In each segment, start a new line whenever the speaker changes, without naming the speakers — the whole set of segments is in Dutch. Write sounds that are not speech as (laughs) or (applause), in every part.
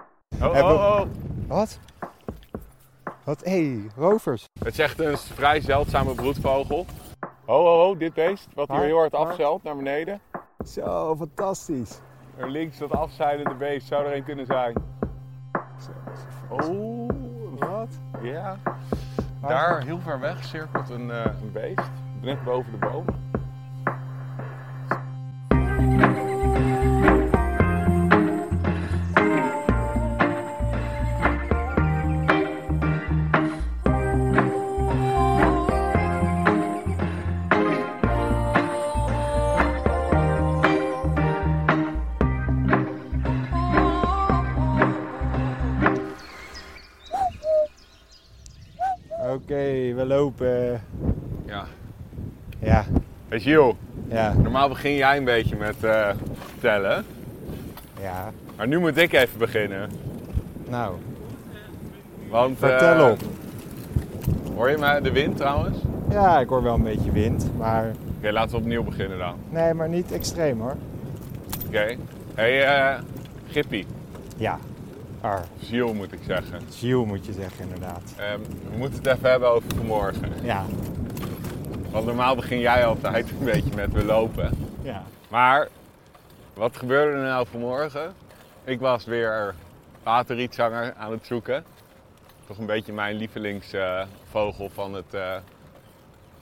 Oh,
Hebben we-
oh, oh.
Wat? Wat? Hé, hey, rovers.
Het is echt een vrij zeldzame broedvogel. Oh, oh, oh, dit beest, wat hier
Waar?
heel hard
Waar?
afzeilt naar beneden.
Zo, fantastisch.
Er links dat afzeilende beest zou er een kunnen zijn.
Zo,
Oh,
Wat?
ja.
Waar?
Daar heel ver weg cirkelt een, eh, een beest, net boven de boom.
Oké, we lopen.
Ja.
Ja,
Weet je joh,
ja,
normaal begin jij een beetje met eh, tellen.
ja.
Maar nu moet ik even beginnen.
Nou,
Want,
vertel
eh,
op.
Hoor je mij de wind trouwens? Oké,
Ja, ik hoor wel een beetje wind, maar
laten we opnieuw beginnen dan.
nee, maar niet extreem hoor.
Oké. hey, eh Gippie.
Ja, ar.
Ziel moet ik zeggen.
Ziel moet je zeggen inderdaad.
Ehm, we moeten het even hebben over vanmorgen.
Ja,
Want normaal begin jij altijd een beetje met we lopen.
ja.
Maar wat gebeurde er nou vanmorgen? Ik was weer waterrietzanger aan het zoeken. Toch een beetje mijn lievelingsvogel van, het, eh,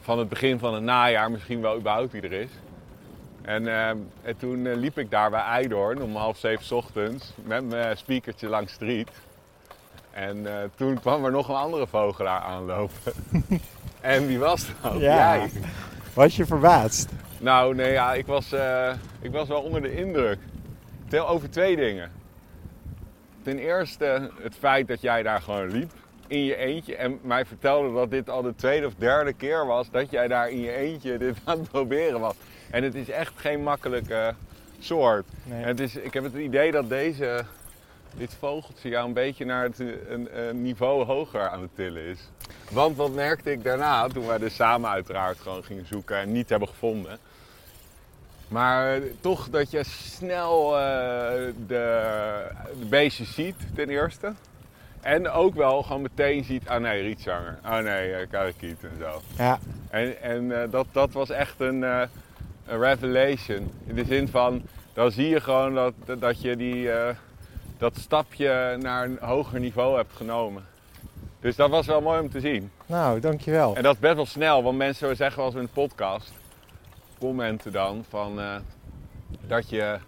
van het begin van het najaar. Misschien wel überhaupt wie er is. En, eh, en toen eh, liep ik daar bij Eidoorn om half zeven 's ochtends met mijn speakertje langs de riet. En eh, toen kwam er nog een andere vogelaar aanlopen. en wie was dat?
Ja.
Jij.
Was je verbaasd?
Nou, nee, ja, ik was, eh, ik was wel onder de indruk. Tel over twee dingen. Ten eerste het feit dat jij daar gewoon liep in je eentje en mij vertelde dat dit al de tweede of derde keer was dat jij daar in je eentje dit (laughs) aan het proberen was. En het is echt geen makkelijke soort.
Nee.
En het is, ik heb het idee dat deze, dit vogeltje jou een beetje naar het, eh, een, een niveau hoger aan het tillen is. Want wat merkte ik daarna, toen wij dus samen uiteraard gewoon gingen zoeken en niet hebben gevonden. Maar eh, toch dat je snel eh, de, de beestjes ziet, ten eerste. En ook wel gewoon meteen ziet, ah nee, rietzanger. Ah nee, eh, karakiet en zo.
Ja,
En, en eh, dat, dat was echt een, eh, een revelation. In de zin van, dan zie je gewoon dat, dat- dat je die, eh, dat stapje naar een hoger niveau hebt genomen. Dus dat was wel mooi om te zien.
nou, dankjewel.
En dat is best wel snel, want mensen zeggen wel eens in een podcast, commenten dan, van eh, dat je...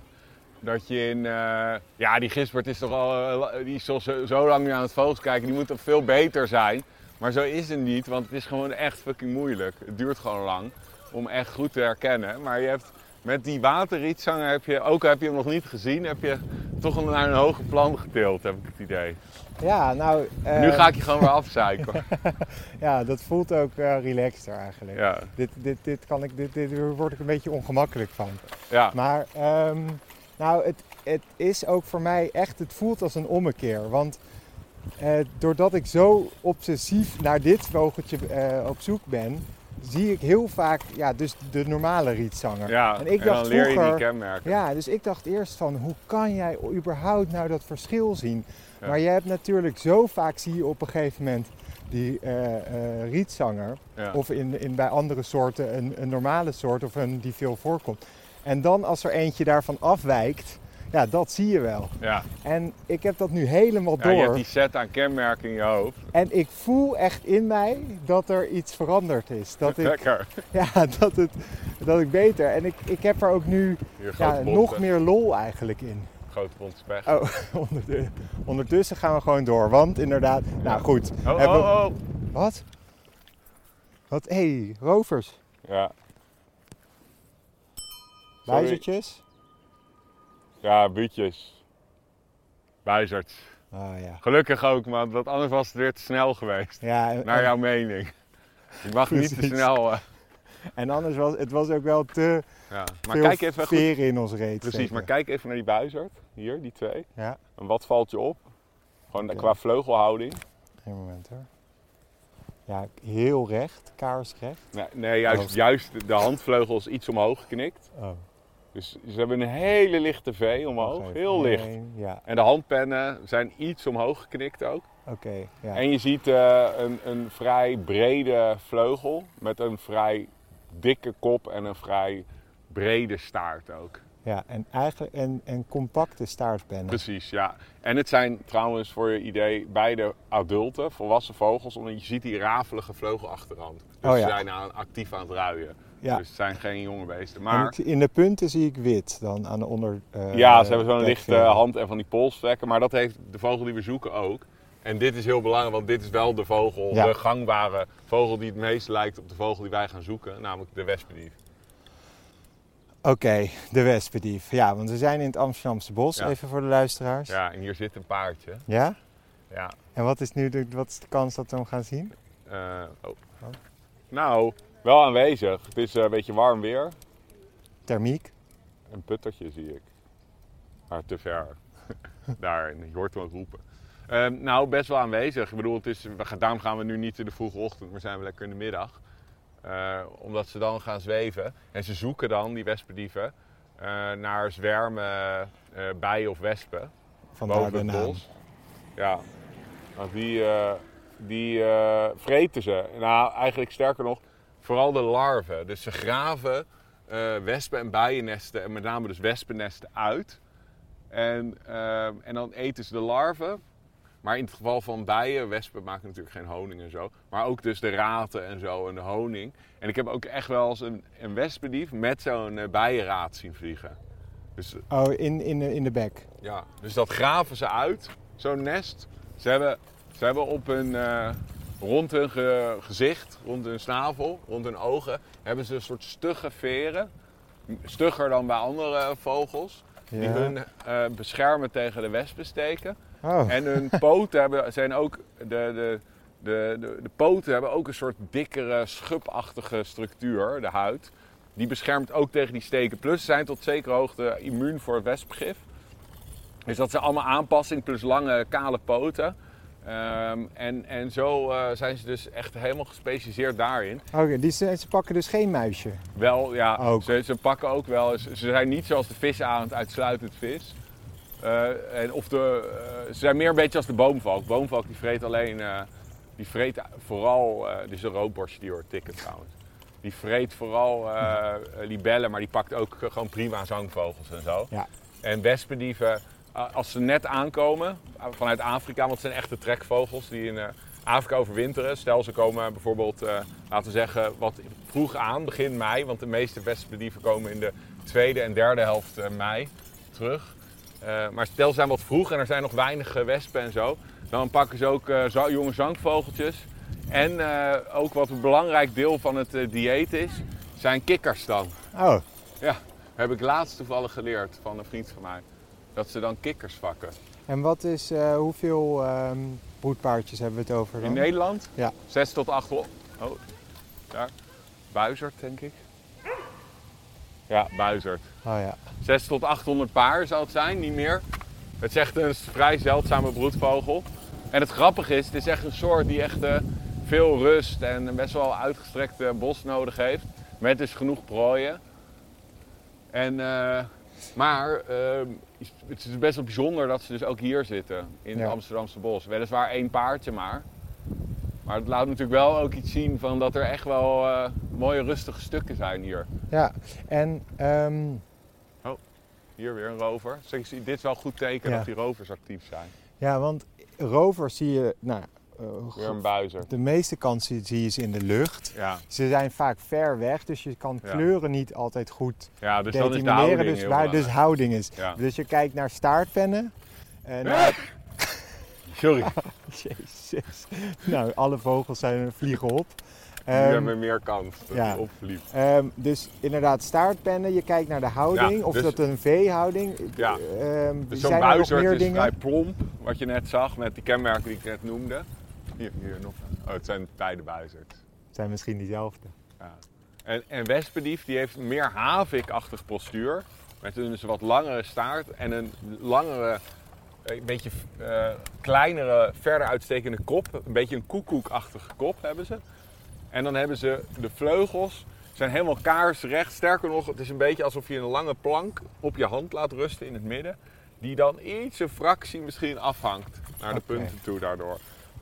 Dat je in. eh, ja, die gispert is toch al. eh, la- die is al zo, zo lang nu aan het vogels kijken. Die moet toch veel beter zijn. Maar zo is het niet, want het is gewoon echt fucking moeilijk. Het duurt gewoon lang om echt goed te herkennen. Maar je hebt. Met die waterrietzanger heb je. Ook al heb je hem nog niet gezien. Heb je toch hem naar een hoger plan getild, heb ik het idee.
Ja, nou. eh,
nu ga ik je gewoon weer afzeiken.
Ja, dat voelt ook wel relaxter eigenlijk.
ja.
Dit, dit, dit kan ik, dit, dit, hier word ik een beetje ongemakkelijk van.
ja.
Maar ehm, nou, het, het is ook voor mij echt, het voelt als een ommekeer. Want eh, doordat ik zo obsessief naar dit vogeltje eh, op zoek ben, zie ik heel vaak ja, dus de normale rietzanger.
Ja,
en ik dacht
dan leer je die
vroeger-
kenmerken.
Ja, dus ik dacht eerst van hoe kan jij überhaupt nou dat verschil zien?
Ja.
Maar je hebt natuurlijk zo vaak zie je op een gegeven moment die eh, eh, rietzanger.
Ja.
Of in, in, bij andere soorten een, een normale soort of een die veel voorkomt. En dan als er eentje daarvan afwijkt, ja, dat zie je wel.
Ja.
En ik heb dat nu helemaal
Ja, je
door.
hebt die set aan kenmerken in je hoofd.
En ik voel echt in mij dat er iets veranderd is. Dat ik,
Lekker.
(laughs) ja, dat het, dat ik beter. En ik, ik heb er ook nu
Hier, grote
ja,
bonte-
nog meer lol eigenlijk in.
Grote bond spech.
Oh, (laughs) onderde- ondertussen gaan we gewoon door. Want inderdaad, nou goed.
Oh,
hebben we-
oh, oh.
Wat? Wat? Hé, hey, rovers.
Ja. Sorry.
Wijzertjes?
Ja, buutjes. Buizerds.
Ah ja.
Gelukkig ook, man. Want anders was het weer te snel
(laughs)
geweest.
Ja, en,
Naar jouw mening. Ik mag niet te
Precies.
snel. eh,
en anders was het was ook wel te
ja. Maar
veel
kijk even goed.
veren in ons reet.
Precies,
steken.
maar kijk even naar die buizerd. Hier, die twee.
Ja,
En wat valt je op? Gewoon
Oké.
qua vleugelhouding.
geen moment hoor. Ja, heel recht, kaarsrecht.
Nee, nee juist,
Hoofd.
juist de handvleugels iets omhoog geknikt.
Oh.
Dus ze hebben een hele lichte V omhoog,
Wacht even.
heel licht.
Eén, Ja,
En de handpennen zijn iets omhoog geknikt ook.
oké. ja.
En je ziet eh, een, een vrij brede vleugel met een vrij dikke kop en een vrij brede staart ook.
ja, en eigenlijk en, en compacte staartpennen.
Precies, ja. En het zijn trouwens voor je idee beide adulte, volwassen vogels, omdat je ziet die rafelige vleugel achterhand. Dus
Oh ja.
ze zijn aan, actief aan het ruien.
Ja.
Dus het zijn geen jonge beesten.
En
Maar
het- in de punten zie ik wit dan aan de onder. eh,
ja, ze hebben zo'n lichte
dekvel.
hand en van die polsvlekken, maar dat heeft de vogel die we zoeken ook. En dit is heel belangrijk, want dit is wel de vogel,
Ja.
de gangbare vogel die het meest lijkt op de vogel die wij gaan zoeken, namelijk de wespendief.
Oké, de wespendief. Ja, want we zijn in het Amsterdamse bos,
Ja.
even voor de luisteraars.
Ja, en hier zit een paardje.
Ja?
Ja.
En wat is nu de, wat is de kans dat we hem gaan zien?
eh, oh.
Oh.
Nou, wel aanwezig. Het is eh, een beetje warm weer.
Thermiek.
Een puttertje zie ik. Maar te ver. (laughs) Daar, en je hoort hem ook roepen. Ehm, nou, best wel aanwezig. Ik bedoel, het is, we gaan- daarom gaan we nu niet in de vroege ochtend, maar zijn we lekker in de middag. Eh, omdat ze dan gaan zweven. En ze zoeken dan, die wespendieven, eh, naar zwermen eh, bijen of wespen.
Vandaar de
boven het
naam.
bos. Ja, want die, eh, die eh, vreten ze. Nou, eigenlijk sterker nog, vooral de larven. Dus ze graven eh, wespen en bijennesten, en met name dus wespennesten, uit. En, ehm, en dan eten ze de larven. Maar in het geval van bijen, wespen maken natuurlijk geen honing en zo. Maar ook dus de raten en zo en de honing. En ik heb ook echt wel eens een, een wespendief met zo'n eh, bijenraad zien vliegen. Dus
Oh, in, in, de- in de bek.
ja, dus dat graven ze uit, zo'n nest. Ze hebben, ze hebben op hun, eh, rond hun ge- gezicht, rond hun snavel, rond hun ogen, hebben ze een soort stugge veren. Stugger dan bij andere eh, vogels. Die
Ja.
hun eh, beschermen tegen de wespensteken.
Oh,
En hun poten hebben, zijn ook, de, de, de, de, de poten hebben ook een soort dikkere, schubachtige structuur, de huid. Die beschermt ook tegen die steken. Plus ze zijn tot zekere hoogte immuun voor het wespengif. Dus dat zijn allemaal aanpassing plus lange kale poten. Ehm, en, en zo eh, zijn ze dus echt helemaal gespecialiseerd daarin.
oké. die ze, ze pakken dus geen muisje.
Wel, ja,
Ook.
ze, ze pakken ook wel eens. Ze zijn niet zoals de visarend uitsluitend vis. Eh, en of de, eh, ze zijn meer een beetje als de boomvalk. Boomvalk die vreet alleen, eh, die vreet vooral, eh dit is een roodborstje die hoort tikken trouwens. Die vreet vooral eh, libellen, maar die pakt ook eh, gewoon prima zangvogels en zo.
Ja.
En wespendieven, eh, als ze net aankomen eh, vanuit Afrika, want het zijn echte trekvogels die in eh, Afrika overwinteren. Stel ze komen bijvoorbeeld, eh, laten we zeggen, wat vroeg aan, begin mei. Want de meeste wespendieven komen in de tweede en derde helft eh, mei terug. Eh, maar stel ze zijn wat vroeg en er zijn nog weinig eh, wespen en zo. Dan pakken ze ook eh, za- jonge zangvogeltjes. En eh, ook wat een belangrijk deel van het eh, dieet is, zijn kikkers dan.
Oh,
Ja, heb ik laatst toevallig geleerd van een vriend van mij. Dat ze dan kikkers vakken.
en wat is, eh, hoeveel ehm, broedpaardjes hebben we het over
In
dan?
Nederland?
Ja.
Zes tot acht... hol- Oh, daar. Buizerd, denk ik. Ja, buizerd.
Oh ja.
Zes tot 800 paar zou het zijn, niet meer. Het is echt een vrij zeldzame broedvogel. En het grappige is, het is echt een soort die echt eh, veel rust en een best wel uitgestrekt eh, bos nodig heeft. Met dus genoeg prooien. En, eh, maar eh, het is best wel bijzonder dat ze dus ook hier zitten, in
Ja.
het Amsterdamse bos. Weliswaar één paardje maar. Maar het laat natuurlijk wel ook iets zien van dat er echt wel eh, mooie rustige stukken zijn hier.
Ja, en ehm,
Oh, Hier weer een rover. Dus ik zie- dit is wel een goed teken
Ja.
dat die rovers actief zijn.
ja, want rovers zie je, nou, eh,
Weer een buizer.
de meeste kans zie zie je ze in de lucht.
Ja,
Ze zijn vaak ver weg, dus je kan
Ja.
kleuren niet altijd goed
ja dus dat is de
determineren.
houding
dus,
heel
waar, dus
belangrijk.
houding is.
Ja.
Dus je kijkt naar staartpennen. En naar- (laughs)
Sorry,
Ehm, Jezus. Nou, alle vogels zijn een vliegen op.
nu
Ehm,
hebben we meer kans dat
ja.
hij opvliegt.
ehm, dus inderdaad, staartpennen, je kijkt naar de houding.
Ja,
of
dus-
dat een V-houding.
Ja.
Ehm,
Dus zo'n
zijn er nog
buizer
meer
is
dingen?
vrij plomp, wat je net zag met die kenmerken die ik net noemde. Hier, hier nog. Oh, het zijn beide buizers.
Het zijn misschien diezelfde.
Ja. En, en Wespendief die heeft meer havikachtig postuur. Met een dus wat langere staart en een langere, een beetje eh, kleinere, verder uitstekende kop. Een beetje een koekoekachtige kop hebben ze. En dan hebben ze de vleugels zijn helemaal kaarsrecht. Sterker nog, het is een beetje alsof je een lange plank op je hand laat rusten in het midden. Die dan iets een fractie misschien afhangt naar de
Oké.
punten toe daardoor.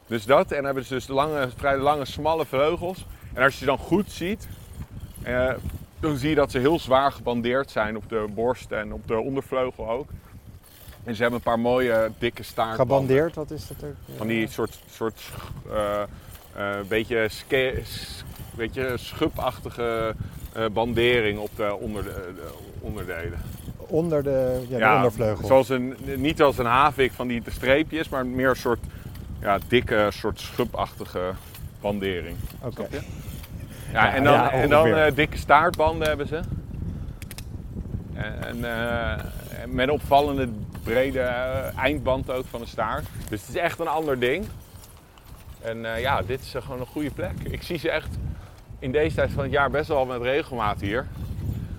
Dus dat, en dan hebben ze dus lange, vrij lange, smalle vleugels. En als je ze dan goed ziet, eh, dan zie je dat ze heel zwaar gebandeerd zijn op de borst en op de ondervleugel ook. En ze hebben een paar mooie, dikke staartbanden.
Gebandeerd, wat is dat ook?
Van die soort, soort eh, eh, beetje, ske, s- beetje schubachtige eh, bandering op de, onder, de, de onderdelen.
Onder de, ja, de ondervleugel.
Zoals een, niet als een havik van die de streepjes, maar meer een soort ja, dikke, soort schubachtige bandering.
Oké.
Snap je? Ja, en dan,
ja,
en dan
ongeveer.
eh, dikke staartbanden hebben ze. En, en, eh, en met een opvallende brede eh, eindband ook van de staart. Dus het is echt een ander ding. En eh, ja, dit is eh, gewoon een goede plek. Ik zie ze echt in deze tijd van het jaar best wel met regelmaat hier.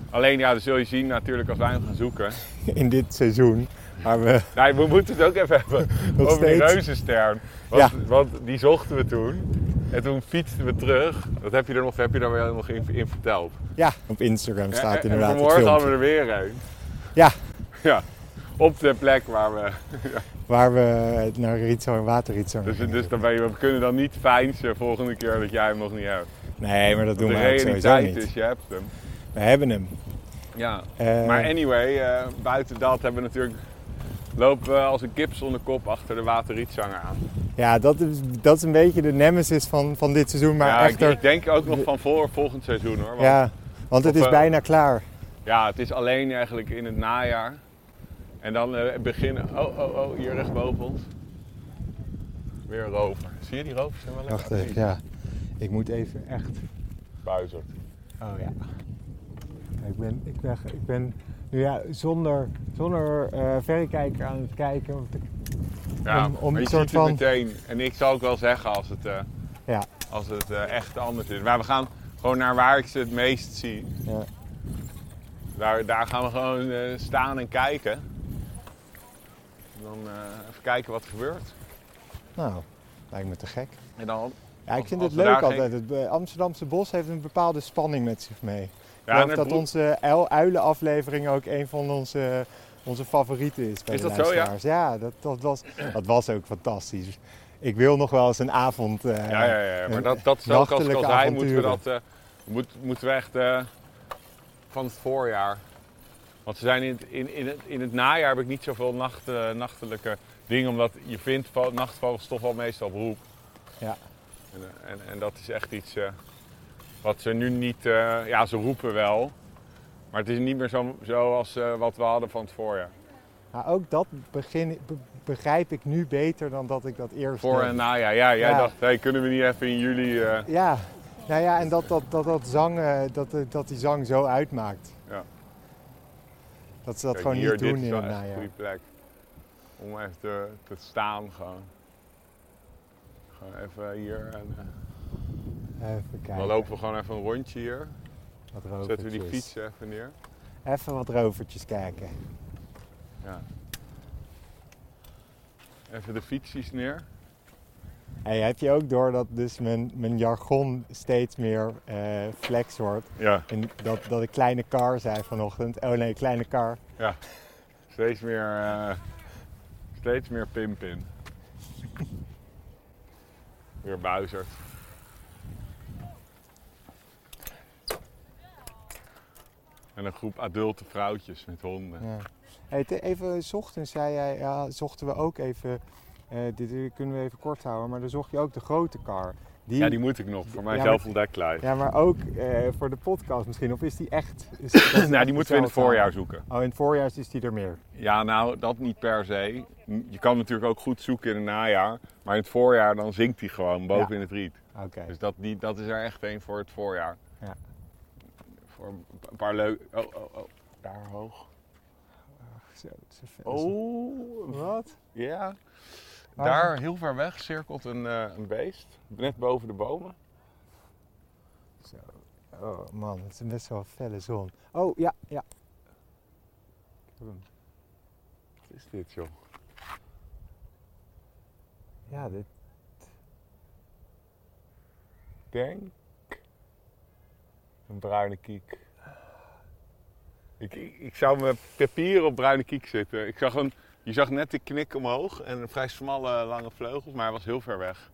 Alleen ja, dat zul je zien natuurlijk als wij hem gaan zoeken.
(laughs) In dit seizoen. Maar we,
Nee, we moeten het ook even hebben
(laughs) Nog
over die
steeds.
reuzenstern. Want,
Ja.
want die zochten we toen. En toen fietsten we terug. Dat heb je er nog, heb je daar wel nog in, in verteld.
ja, op Instagram staat
En- en
inderdaad het
vanmorgen hadden we
filmpje.
er weer een. (laughs)
Ja,
Ja, op de plek waar we...
waar we naar Rizzo en Waterritzo
Dus,
gingen.
dus dan ben je, we kunnen dan niet feinsen volgende keer dat jij hem nog niet hebt.
Nee, maar dat doen
de
we ook sowieso
realiteit
niet.
is, je hebt hem.
We hebben hem.
Ja.
Eh,
maar anyway, eh, buiten dat hebben we natuurlijk... Lopen we als een kip zonder kop achter de waterrietzanger aan.
Ja, dat is, dat is een beetje de nemesis van, van dit seizoen. Maar
ja, ik,
echter,
ik denk ook nog van voor volgend seizoen hoor. Want
ja, want het
Of,
is
eh,
bijna klaar.
Ja, het is alleen eigenlijk in het najaar. En dan eh, beginnen. Oh, oh, oh, hier rechtsboven ons. Weer een rover. Zie je die rovers? Zijn wel lekker
Wacht even,
actief.
ja. Ik moet even echt...
Buizerd.
Oh ja. Ik ben, ik ben, ik ben nu ja, zonder, zonder eh, verrekijker aan het kijken. want ik-
Ja,
Om-
maar
om
je
een
ziet
soort
het
van-
meteen. En ik zou ook wel zeggen als het, eh,
ja,
als het eh, echt anders is. Maar we gaan gewoon naar waar ik ze het meest zie.
ja.
Daar, daar gaan we gewoon eh, staan en kijken. En dan eh, even kijken wat er gebeurt.
Nou, lijkt me te gek.
En dan
Ja, ik
Als-
vind
als
het
we
leuk
daar
altijd. Het eh, Amsterdamse bos heeft een bepaalde spanning met zich mee.
Ja, en het
ik geloof dat
broek-
onze uil- uilenaflevering ook een van onze, eh, onze favorieten is bij
Is
de
dat zo, ja?
luisteraars. Ja, dat, dat, was, dat was ook fantastisch. Ik wil nog wel eens een avond... eh,
Ja, ja, ja. Maar
een
dat, dat is ook als, als
nachtelijke
hij moeten we dat...
avonturen.
eh, moet, moeten we echt eh, van het voorjaar. Want ze zijn in het, in, in het, in het najaar heb ik niet zoveel nacht, eh, nachtelijke dingen. Omdat je vindt vo- nachtvogels toch wel meestal op roep.
Ja.
En, eh, en, en dat is echt iets eh, wat ze nu niet... eh, ja, ze roepen wel. Maar het is niet meer zo, zoals eh, wat we hadden van het voorjaar.
Maar ook dat begin, be- begrijp ik nu beter dan dat ik dat eerst
Voor
deed.
en najaar. Ja, jij
Ja.
dacht, hey, kunnen we niet even in juli... eh,
Ja, nou ja, en dat, dat, dat, dat, zang, eh, dat, eh, dat die zang zo uitmaakt.
Ja.
Dat ze dat
Kijk,
gewoon
hier,
niet doen
dit is
in eh,
wel
het
echt een
najaar.
goede plek. Om even te, te staan gewoon. Gewoon even hier. En, eh,
Even kijken.
dan lopen we gewoon even een rondje hier.
Wat rovertjes.
Zetten we die fiets even neer.
Even wat rovertjes kijken.
Ja. Even de fietsjes neer.
Hey, heb je ook door dat dus mijn, mijn jargon steeds meer eh, flex wordt?
Ja.
En dat, dat ik kleine car zei vanochtend. Oh nee, kleine car.
ja. Steeds meer, eh, steeds meer pimpin. Weer buizerd. En een groep adulte vrouwtjes met honden.
Ja. Hey, te- even 's ochtends zei jij, ja, zochten we ook even, eh, dit kunnen we even kort houden, maar dan zocht je ook de grote car.
Ja, die moet ik nog voor
Ja,
mijzelf
maar-
ontdekt lijst.
Ja, maar ook eh, voor de podcast misschien. Of is die echt?
(laughs)
Is, dat is
Nou,
echt
die moeten we in het
hetzelfde?
voorjaar zoeken.
Oh, in het voorjaar is die er meer.
Ja, nou, dat niet per se. Je kan natuurlijk ook goed zoeken in het najaar. Maar in het voorjaar dan zinkt hij gewoon boven
Ja.
in het riet.
Oké.
Dus dat, die, dat is er echt één voor het voorjaar.
Ja.
Voor een pa- paar leuke... Oh, oh, oh. Daar hoog.
Zo, zo ver-
Oh,
Wat?
ja.
Waar-
Daar heel ver weg cirkelt een, eh, een beest. Net boven de bomen.
Zo. Oh man, het is best wel een felle zon. Oh ja, ja. Ik heb hem.
Wat is dit, joh?
Ja, dit.
Denk Een bruine kiek. Ik, ik, ik zou mijn papier op bruine kiek zitten. Ik zag een, je zag net de knik omhoog en een vrij smalle lange vleugels, maar hij was heel ver weg.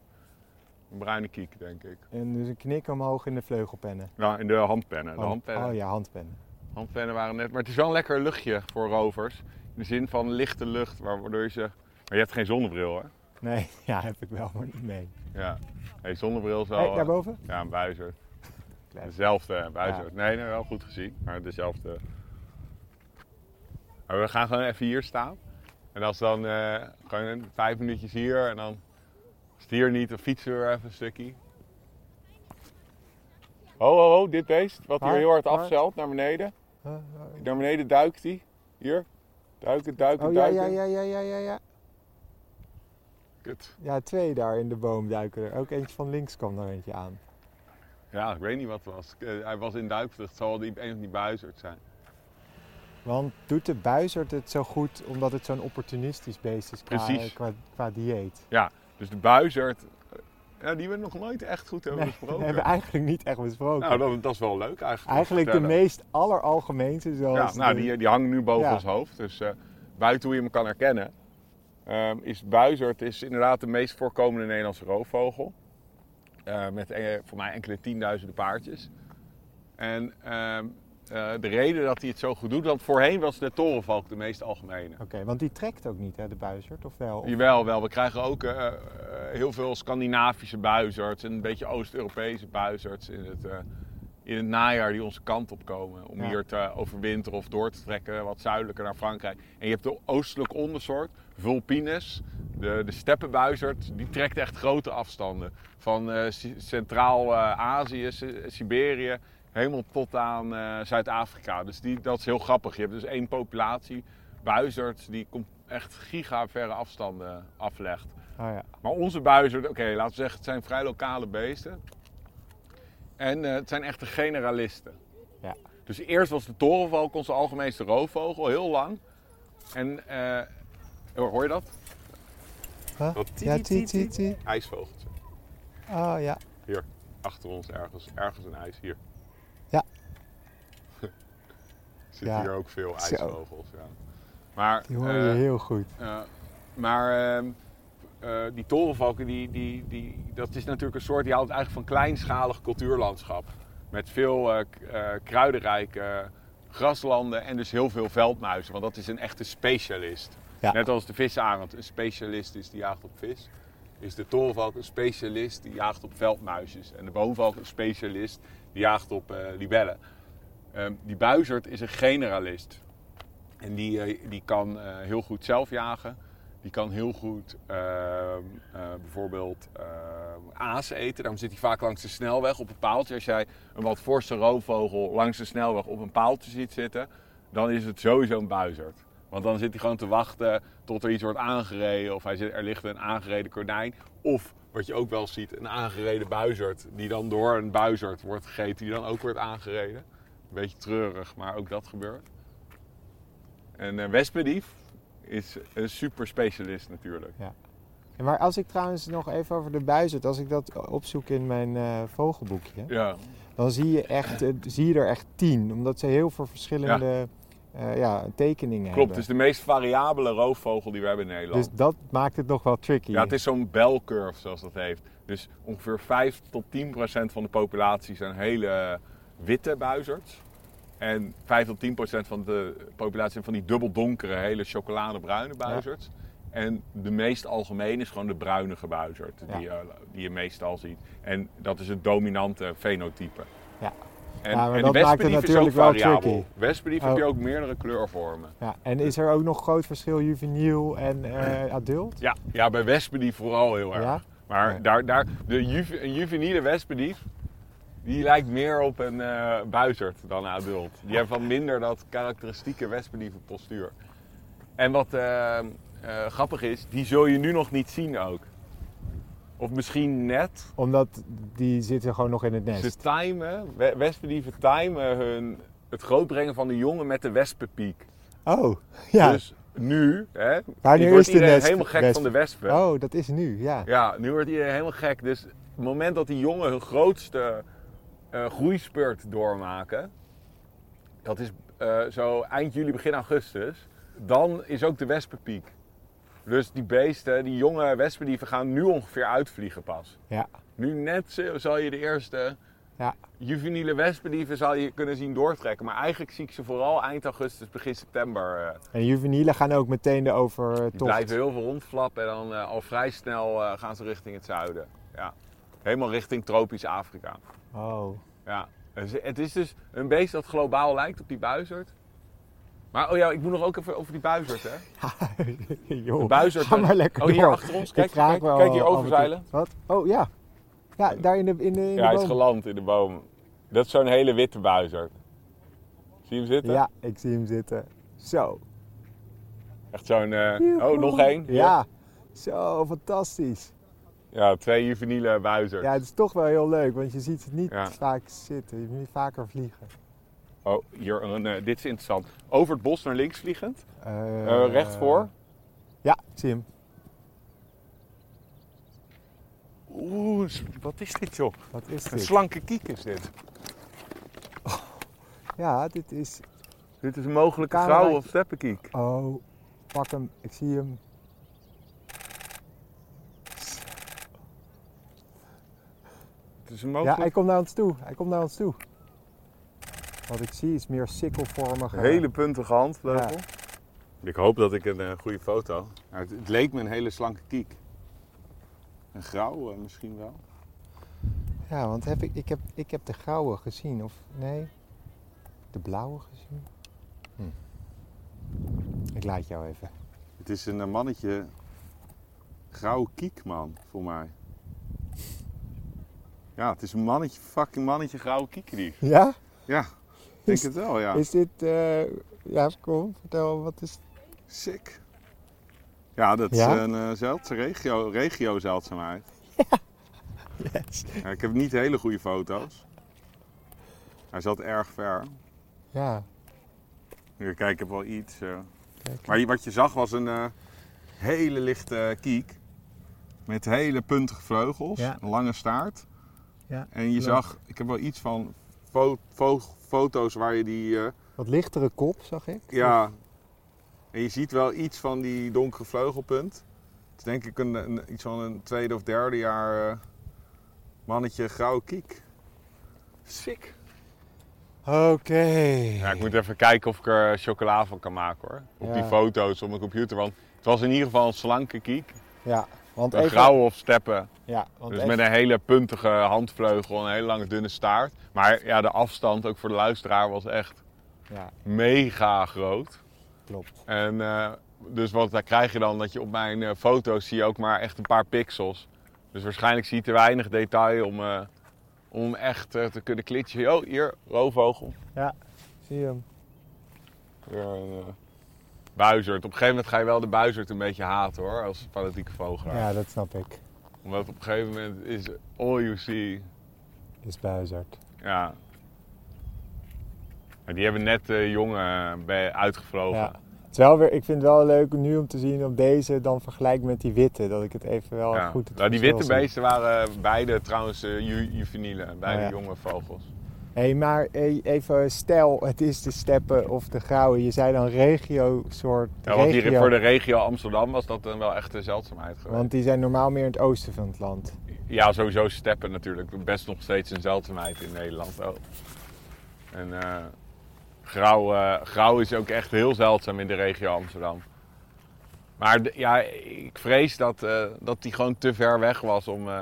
Een bruine kiek, denk ik.
En dus een knik omhoog in de vleugelpennen.
Nou, in de handpennen. De
Oh,
handpennen.
Oh ja, handpennen.
Handpennen waren net. Maar het is wel een lekker luchtje voor rovers. In de zin van lichte lucht, waardoor je ze. Maar je hebt geen zonnebril, hè?
Nee, (laughs) ja, heb ik wel, maar niet mee.
Ja. Nee, zonnebril is wel. eh,
Hey, daarboven?
Ja, een buizer.
Klein.
Dezelfde buizer. Nee, nee, wel goed gezien. Maar dezelfde. Maar we gaan gewoon even hier staan. En als dan eh, gewoon vijf minuutjes hier en dan als het hier niet, dan fietsen we weer even een stukje. Ho, ho, ho, dit beest, wat hier
Waar?
heel hard
Waar?
afzeilt naar beneden.
Huh?
Naar beneden duikt hij. Hier. Duiken, duiken,
Oh ja,
duiken.
ja, ja, ja, ja, ja, ja.
Kut.
Ja, twee daar in de boom duiken er. Ook eentje van links kwam er eentje aan.
Ja, ik weet niet wat het was. Eh, hij was in duikvlucht. Het zal wel die, een van die buizerd zijn.
Want doet de buizerd het zo goed omdat het zo'n opportunistisch beest is qua,
Precies.
qua, qua dieet?
Dus de buizerd, eh, ja, die we nog nooit echt goed hebben
dat
besproken.
hebben we eigenlijk niet echt besproken.
nou, dat, dat is wel leuk eigenlijk. om te
eigenlijk de
vertellen.
meest alleralgemeenste zoals...
Ja, nou,
de-
die, die hangen nu boven
Ja.
ons hoofd. Dus eh, buiten hoe je hem kan herkennen, ehm, is buizerd is inderdaad de meest voorkomende Nederlandse roofvogel. Eh, met eh, voor mij enkele tienduizenden paardjes. En ehm, eh, de reden dat hij het zo goed doet, want voorheen was de torenvalk de meest algemene.
Oké, want die trekt ook niet, hè, de buizerd, of wel?
Jawel, wel. We krijgen ook eh, eh, heel veel Scandinavische buizerds en een beetje Oost-Europese buizerds in het, eh, in het najaar die onze kant op komen. Om
Ja.
hier te overwinteren of door te trekken wat zuidelijker naar Frankrijk. En je hebt de oostelijke ondersoort, Vulpinus, de, de steppenbuizerd, die trekt echt grote afstanden. Van eh, Si- Centraal-Azië, Si- Siberië, helemaal tot aan eh, Zuid-Afrika. Dus die, dat is heel grappig. Je hebt dus één populatie buizerd die komt echt gigaverre afstanden aflegt.
Oh ja.
Maar onze buizerd, oké, laten we zeggen, het zijn vrij lokale beesten. En eh, het zijn echte generalisten.
Ja.
Dus eerst was de torenvalk onze algemeenste roofvogel, heel lang. En, eh, hoor je dat?
Huh?
Dat
Ja, tiet, tiet, tiet.
ijsvogeltje.
Oh ja.
Achter ons ergens, ergens een ijs, hier. (laughs)
Ja.
Zitten
Ja.
hier ook veel
Zo.
ijsvogels, ja. Maar,
Die hoor
eh,
je heel goed.
Ja, maar ehm, eh, die torenvalken, die, die, die, dat is natuurlijk een soort die houdt eigenlijk van kleinschalig cultuurlandschap. Met veel eh, k- eh, kruidenrijke eh, graslanden en dus heel veel veldmuizen. Want dat is een echte specialist.
Ja.
Net als de visarend een specialist is die jaagt op vis. Is de torenvalk een specialist die jaagt op veldmuisjes. En de boomvalk een specialist die jaagt op eh, libellen. Ehm, die buizerd is een generalist. En die, eh, die kan eh, heel goed zelf jagen. Die kan heel goed ehm, eh, bijvoorbeeld ehm, aas eten. Daarom zit hij vaak langs de snelweg op een paaltje. Als jij een wat forse roofvogel langs de snelweg op een paaltje ziet zitten, dan is het sowieso een buizerd. Want dan zit hij gewoon te wachten tot er iets wordt aangereden. Of hij zit, er ligt een aangereden konijn. Of wat je ook wel ziet, een aangereden buizerd. Die dan door een buizerd wordt gegeten, die dan ook wordt aangereden. Een beetje treurig, maar ook dat gebeurt. En eh, wespendief is een super specialist natuurlijk.
Ja, Maar als ik trouwens nog even over de buizerd, als ik dat opzoek in mijn eh, vogelboekje,
Ja,
dan zie je, echt, eh, zie je er echt tien. Omdat ze heel veel verschillende eh, ja, tekeningen
klopt. dus Het
hebben.
is de meest variabele roofvogel die we hebben in Nederland.
Dus dat maakt het nog wel tricky.
Ja, het is zo'n bell curve zoals dat heeft. Dus ongeveer 5 tot 10 procent van de populatie zijn hele witte buizerds. En 5 tot 10 procent van de populatie zijn van die dubbelddonkere, hele chocoladebruine buizerds. En de meest algemeen is gewoon de bruinige buizerd,
Ja.
die, eh, die je meestal ziet. En dat is het dominante fenotype.
Ja.
En,
Ja, maar
en
dat
de
maakt het
wespendief is ook
natuurlijk wel
variabel.
tricky.
Wespendief
Oh.
heb je ook meerdere kleurvormen.
Ja, en is er ook nog groot verschil juveniel en
(clears throat)
eh, adult?
Ja, ja bij wespendief vooral heel erg.
Ja?
Maar
Ja.
daar, daar, de juve- een juveniele wespendief, die lijkt meer op een eh buizerd dan een adult. Die hebben van minder dat karakteristieke wespendieven postuur. En wat eh, eh, grappig is, die zul je nu nog niet zien ook. Of misschien net.
Omdat die zitten gewoon nog in het nest.
Ze timen, we- wespendieven timen hun, het grootbrengen van de jongen met de wespenpiek.
Oh, (laughs) ja.
Dus nu, hè,
Maar nu
nu wordt
is de
iedereen
nest-
helemaal gek
wesp-
van de wespen.
Oh, dat is nu, ja.
Ja, nu wordt iedereen helemaal gek. Dus het moment dat die jongen hun grootste een groeispurt doormaken. Dat is eh, zo eind juli, begin augustus. Dan is ook de wespenpiek. Dus die beesten, die jonge wespen, die gaan nu ongeveer uitvliegen pas.
Ja.
Nu net z- zal je de eerste
Ja.
juveniele wespendieven zal je kunnen zien doortrekken. Maar eigenlijk zie ik ze vooral eind augustus, begin september. eh.
En de juvenielen gaan ook meteen de
Die
overtocht.
blijven heel veel rondflappen en dan eh, al vrij snel eh, gaan ze richting het zuiden. Ja. Helemaal richting tropisch Afrika.
Oh. (laughs)
Ja. Dus het is dus een beest dat globaal lijkt op die buizerd. Maar oh ja, ik moet nog ook even over die buizerd, hè?
Joh,
buizerd-
ga maar lekker
Oh, hier
door.
achter ons.
Ik
Kijk,
raak
kijk,
wel
kijk hier
af en toe-
overzeilen.
Wat? Oh ja. Ja, daar in de, in de, in
Ja, hij
de
is
boom.
geland in de boom. Dat is zo'n hele witte buizerd. Zie je hem zitten?
Ja, ik zie hem zitten. Zo.
Echt zo'n... eh, Oh, nog één. Hier.
Ja. Zo, fantastisch.
Ja, twee juveniele buizerd.
Ja, het is toch wel heel leuk, want je ziet het niet
Ja.
vaak zitten. Je moet niet vaker vliegen.
Oh, hier, een, eh, dit is interessant. Over het bos naar links vliegend.
Eh,
Eh recht voor.
Ja, ik zie hem.
Oeh, wat is dit joh?
Wat is
Een
dit?
slanke kiek is dit.
Ja, dit is...
Dit is een mogelijke
Cameraatje.
grauwe of steppenkiek.
Oh, pak hem. Ik zie hem.
Het is een
Ja,
mogelijk...
hij komt naar ons toe. Hij komt naar ons toe. Wat ik zie is meer sikkelvormige...
Hele puntige handvleugel.
Ja.
Ik hoop dat ik een eh, goede foto... Nou, het, het leek me een hele slanke kiek. Een grauw eh, misschien wel.
Ja, want heb ik, ik, heb, ik heb de grauwe gezien, of nee? De blauwe gezien? Hm. Ik laat jou even.
Het is een eh, mannetje... Grauw kiekman, voor mij. Ja, het is een mannetje, fucking mannetje grauwe kiekdief.
Ja?
Ja, ik denk het wel, ja.
Is dit... eh, ja, kom, vertel, wat is...
Sick. Ja, dat is
Ja?
een eh, zeldzaam regio, regio zeldzaamheid.
Yes.
Ja, ik heb niet hele goede foto's. Hij zat erg ver.
Ja,
Hier, kijk, ik heb wel iets. eh.
Kijk.
Maar je- wat je zag was een eh, hele lichte kiek. Met hele puntige vleugels,
Ja.
een lange staart.
Ja,
en je
klopt.
zag, ik heb wel iets van fo- fo- foto's waar je die... eh,
wat lichtere kop, zag ik.
Ja. En je ziet wel iets van die donkere vleugelpunt. Het is denk ik een, een- iets van een tweede of derde jaar eh, mannetje grauw kiek. Sick.
Oké.
Ja, ik moet even kijken of ik er eh, chocola van kan maken hoor. Op
Ja.
die foto's op mijn computer. Want het was in ieder geval een slanke kiek.
Ja, want
Een
even...
grauwe of steppen.
Ja, want
Dus
even-
met een hele puntige handvleugel en een hele lange dunne staart. Maar ja, de afstand ook voor de luisteraar was echt
Ja,
mega groot.
klopt.
En eh, dus wat daar krijg je dan? Dat je op mijn eh, foto's zie je ook maar echt een paar pixels. Dus waarschijnlijk zie je te weinig detail om, eh, om hem echt eh, te kunnen klitsen. Oh, hier, roofvogel.
Zie je hem?
Weer een eh, buizerd. Op een gegeven moment ga je wel de buizerd een beetje haten hoor, als fanatieke vogelaar.
Ja, dat snap ik.
Omdat op een gegeven moment is all you see.
Is buizerd.
Ja. Maar die hebben net de jongen eh, bij- uitgevlogen.
Ja. Het is wel weer, ik vind het wel leuk nu om te zien op deze dan vergelijk met die witte. Dat ik het even wel
Ja.
Oh, goed het
nou, die
verschil
witte
zie.
beesten waren beide trouwens eh, ju- juvenielen, beide
Oh, ja.
jonge vogels.
Hé, hey, maar hey, even stel, het is de steppen of de grauwe. Je zei dan regio-soort.
Ja, want hier
regio,
voor de regio Amsterdam was dat dan wel echt een zeldzaamheid geweest.
want die zijn normaal meer in het oosten van het land.
Ja, sowieso steppen natuurlijk. Best nog steeds een zeldzaamheid in Nederland ook. En eh, grauw, eh, grauw is ook echt heel zeldzaam in de regio Amsterdam. Maar d- ja, ik vrees dat, eh, dat die gewoon te ver weg was om, eh,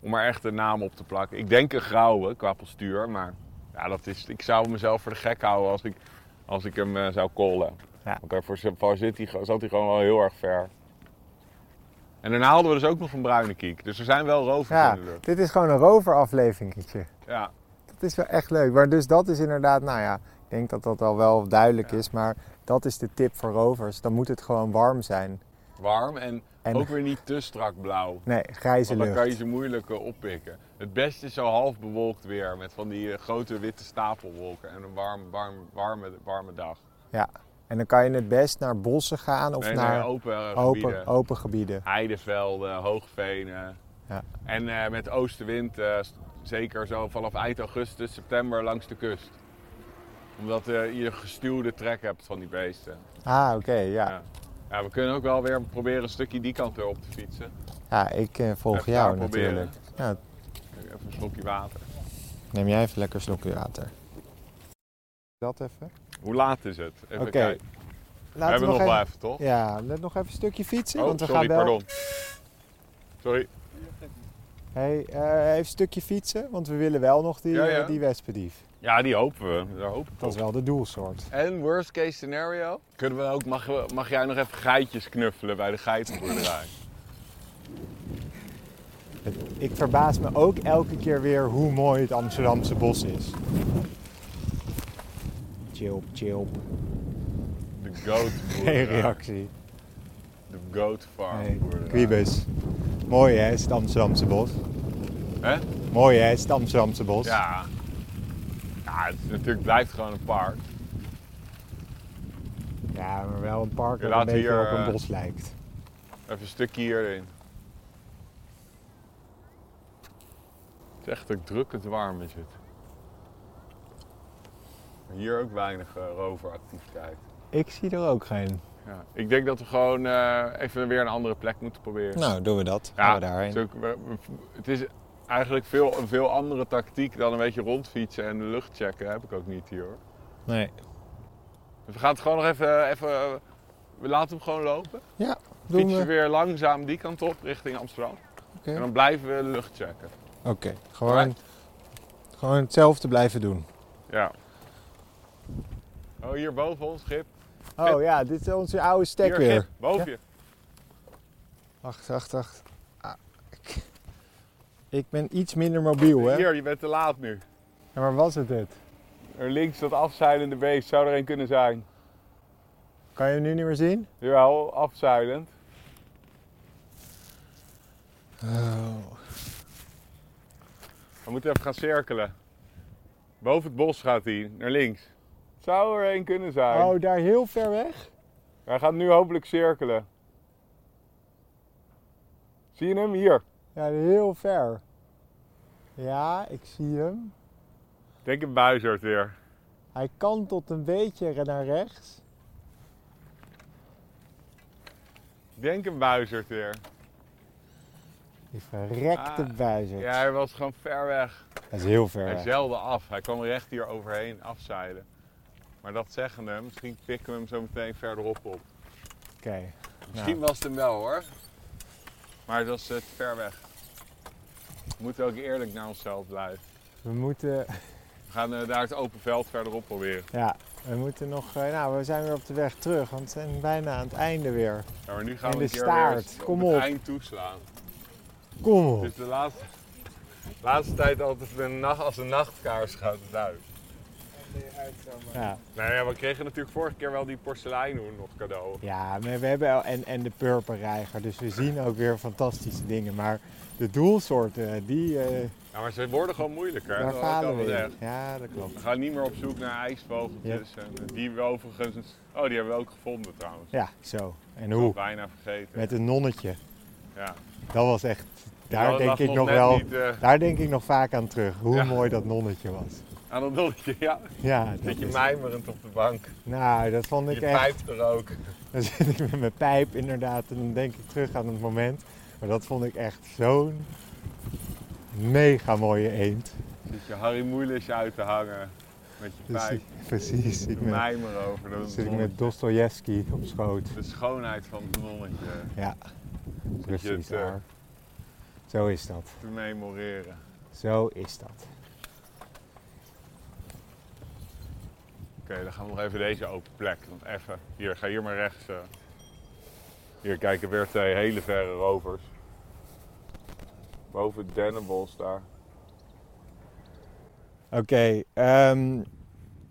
om er echt een naam op te plakken. Ik denk een grauwe qua postuur, maar ja, dat is, ik zou mezelf voor de gek houden als ik, als ik hem eh, zou callen.
Ja.
Want daarvoor zit- voor zit hij, zat hij gewoon wel heel erg ver. En daarna hadden we dus ook nog een bruine kiek. Dus er zijn wel rovers
Ja,
in de lucht.
dit is gewoon een roverafleveringetje.
Ja.
Dat is wel echt leuk. Maar dus dat is inderdaad, nou ja, ik denk dat dat al wel duidelijk is. Maar dat is de tip voor rovers. Dan moet het gewoon warm zijn.
Warm en,
En-
ook weer niet te strak blauw.
Nee, grijze
Want dan
lucht.
kan je ze moeilijk eh, oppikken. Het beste is zo half bewolkt weer. Met van die eh, grote witte stapelwolken. En een warm, warm, warme, warme dag.
Ja. En dan kan je het best naar bossen gaan of
Nee, nee,
naar
open eh, gebieden.
open, open gebieden.
Heidevelden, hoogvenen.
Ja.
En eh, met oostenwind eh, st- zeker zo vanaf eind augustus, september langs de kust. Omdat eh, je gestuwde trek hebt van die beesten.
Ah, oké, ja. ja.
Ja. Ja, we kunnen ook wel weer proberen een stukje die kant weer op te fietsen.
ik eh, volg
Even
jou
daar proberen.
natuurlijk. Ja,
Even een slokje water.
neem jij even lekker een slokje water.
Dat even.
Hoe laat is het? Even
Oké.
kijken. We hebben nog wel even, toch?
Ja, let nog even een stukje fietsen.
oh,
want we
sorry,
gaan wel...
pardon. Sorry.
Hey, eh, even een stukje fietsen, want we willen wel nog die,
Ja,
eh,
ja.
die wespendief.
Ja, die hopen we. Daar hopen we
Dat is wel de doelsoort.
En worst case scenario, kunnen we ook, mag, we- mag jij nog even geitjes knuffelen bij de geitenboerderij?
Ik verbaas me ook elke keer weer hoe mooi het Amsterdamse bos is. Chilp, chilp.
De goat
Geen reactie.
De goat farm
Nee.
boerderij.
Quibus. Mooi hè, is het Amsterdamse bos.
Hè?
Mooi hè, is het Amsterdamse bos.
Ja. Ja, het is natuurlijk blijft gewoon een park.
Ja, maar wel een park
Ja,
dat een
laten we
beetje
hier,
op een
eh,
bos lijkt.
Even een stukje hierin. Het is echt ook drukkend warm is het. Hier ook weinig eh, roveractiviteit.
Ik zie er ook geen.
Ja. Ik denk dat we gewoon eh, even weer een andere plek moeten proberen.
Nou, doen we dat. Gaan we daarheen.
Het is, ook- we- we- het is eigenlijk veel, een veel andere tactiek dan een beetje rondfietsen en de lucht checken. Heb ik ook niet hier hoor.
Nee.
Dus we gaan het gewoon nog even. even we laten hem gewoon lopen.
Doen
Fietsen
we.
weer langzaam die kant op richting Amsterdam.
Oké.
En dan blijven we de lucht checken.
Oké, gewoon, gewoon hetzelfde blijven doen.
Ja. Oh, hier boven ons schip.
Oh ja, dit is onze oude stek
hier,
weer.
Gip, boven je.
Wacht, wacht, wacht. Ah, ik- ik ben iets minder mobiel, hè?
Hier, je bent te laat nu.
Ja, maar was het het?
Er links dat afzeilende beest zou er een kunnen zijn.
Kan je hem nu niet meer zien?
Jawel, afzeilend.
Oh.
We moeten even gaan cirkelen. Boven het bos gaat hij, naar links. Zou er één kunnen zijn.
Oh, daar heel ver weg?
Hij gaat nu hopelijk cirkelen. Zie je hem? Hier.
Ja, heel ver. Ja, ik zie hem.
Denk een buizerd weer.
Hij kantelt een beetje naar rechts.
Denk een buizerd weer.
Die verrekte
Ah,
buizerd.
Ja, hij was gewoon ver weg.
Dat is heel ver
Hij
weg.
zeilde af. Hij kwam recht hier overheen afzeilen. Maar dat zeggende, misschien pikken we hem zo meteen verderop op.
Oké.
Misschien was het hem wel hoor. Maar het was eh, te ver weg. We moeten ook eerlijk naar onszelf blijven.
We moeten,
We gaan eh, daar het open veld verderop proberen.
ja, we moeten nog, eh, nou we zijn weer op de weg terug, want we zijn bijna aan het einde weer.
Ja, maar nu gaan
In
we een
de
keer
staart.
weer eens op
Kom
het
op.
eind toeslaan.
Kom
Het
op.
is de laatste, laatste tijd altijd een nacht, als een nachtkaars gaat het uit.
Ja,
Nou ja, we kregen natuurlijk vorige keer wel die porseleinhoen nog cadeau.
ja maar we hebben al, en, en de purperreiger, dus we zien ook weer fantastische dingen. Maar de doelsoorten, die, eh
Ja, maar ze worden gewoon moeilijker.
daar
dat had ik al
falen we
gezegd.
in. Ja, dat klopt.
We gaan niet meer op zoek naar ijsvogeltjes. En eh, die we overigens... Oh, die hebben we ook gevonden trouwens.
Ja, zo. En
Dat had
hoe?
ik Bijna vergeten.
Met een nonnetje.
Ja.
Dat was echt, daar
Dat
denk
lag
ik nog
net
wel,
niet, eh,
daar denk ik nog vaak aan terug. Hoe
Ja.
mooi dat nonnetje was.
aan dat dolletje, ja.
Ja, dat
Zit je
is-
mijmerend op de bank.
Nou, dat vond
Je
ik echt. (laughs)
pijpt er ook.
Dan zit ik met mijn pijp inderdaad en dan denk ik terug aan het moment. Maar dat vond ik echt zo'n mega mooie eend.
Zit je Harry Moelis uit te hangen. Met je
Dus ik,
pijp.
precies,
Je
ik met,
mijmer over. Dat is
zit ik
een
met Dostoevsky op schoot.
De schoonheid van het nonnetje
Ja, precies
het, eh,
daar. Zo is dat.
te memoreren.
Zo is dat.
Oké, dan gaan we nog even deze open plek. Want even, hier, ga hier maar rechts. eh. Hier kijken weer twee hele verre rovers. Boven het dennenbos daar.
Oké, ehm,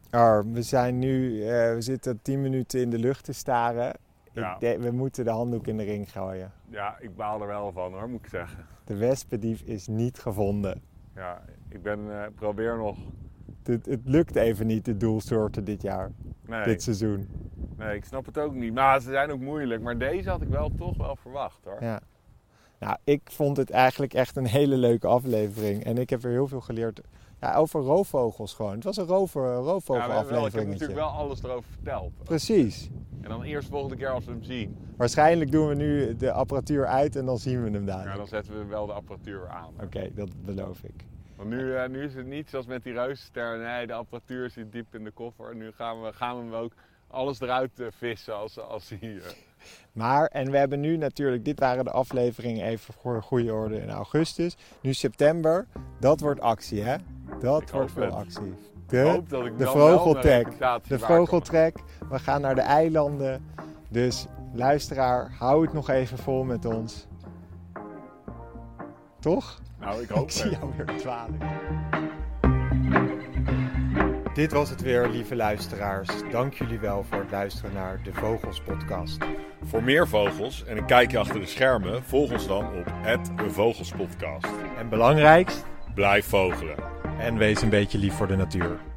Ar, we zijn nu, eh, we zitten 10 minuten in de lucht te staren.
Ja.
Ik denk- we moeten de handdoek in de ring gooien.
Ja, ik baal er wel van hoor, moet ik zeggen.
De wespendief is niet gevonden.
Ja, ik ben, eh, probeer nog.
Het, het lukt even niet, de doelsoorten dit jaar,
Nee,
dit seizoen.
nee, ik snap het ook niet. Maar ze zijn ook moeilijk. Maar deze had ik wel toch wel verwacht hoor.
Ja. Nou, ik vond het eigenlijk echt een hele leuke aflevering. En ik heb weer heel veel geleerd ja, over roofvogels gewoon. Het was een rover,
Ja, we hebben wel- ik heb
roofvogelaflevering.
natuurlijk wel alles erover verteld.
Precies.
En dan eerst volgende keer als we hem zien.
Waarschijnlijk doen we nu de apparatuur uit en dan zien we hem
Ja,
dadelijk.
dan zetten we wel de apparatuur aan.
Oké, dat beloof ik.
Want nu, eh, nu is het niet zoals met die reuzenster. Nee, de apparatuur zit diep in de koffer. Nu gaan we, gaan we hem ook alles eruit eh, vissen als, als hij... eh,
Maar, en we hebben nu natuurlijk, dit waren de afleveringen even voor goede orde in augustus. Nu september, dat wordt actie hè? Dat
Ik
wordt
hoop
veel
het.
actie.
Ik
De,
hoop dat ik
de
dan wel mijn
vogeltrek.
reputatie
De
waarborg.
vogeltrek. We gaan naar de eilanden. Dus luisteraar, hou het nog even vol met ons. Toch?
(laughs) Nou, ik hoop
Ik zie
het.
jou weer dwalen. Dit was het weer, lieve luisteraars. Dank jullie wel voor het luisteren naar de Vogels Podcast.
Voor meer vogels en een kijkje achter de schermen, volg ons dan op het Vogelspodcast.
En belangrijkst,
Blijf vogelen.
en wees een beetje lief voor de natuur.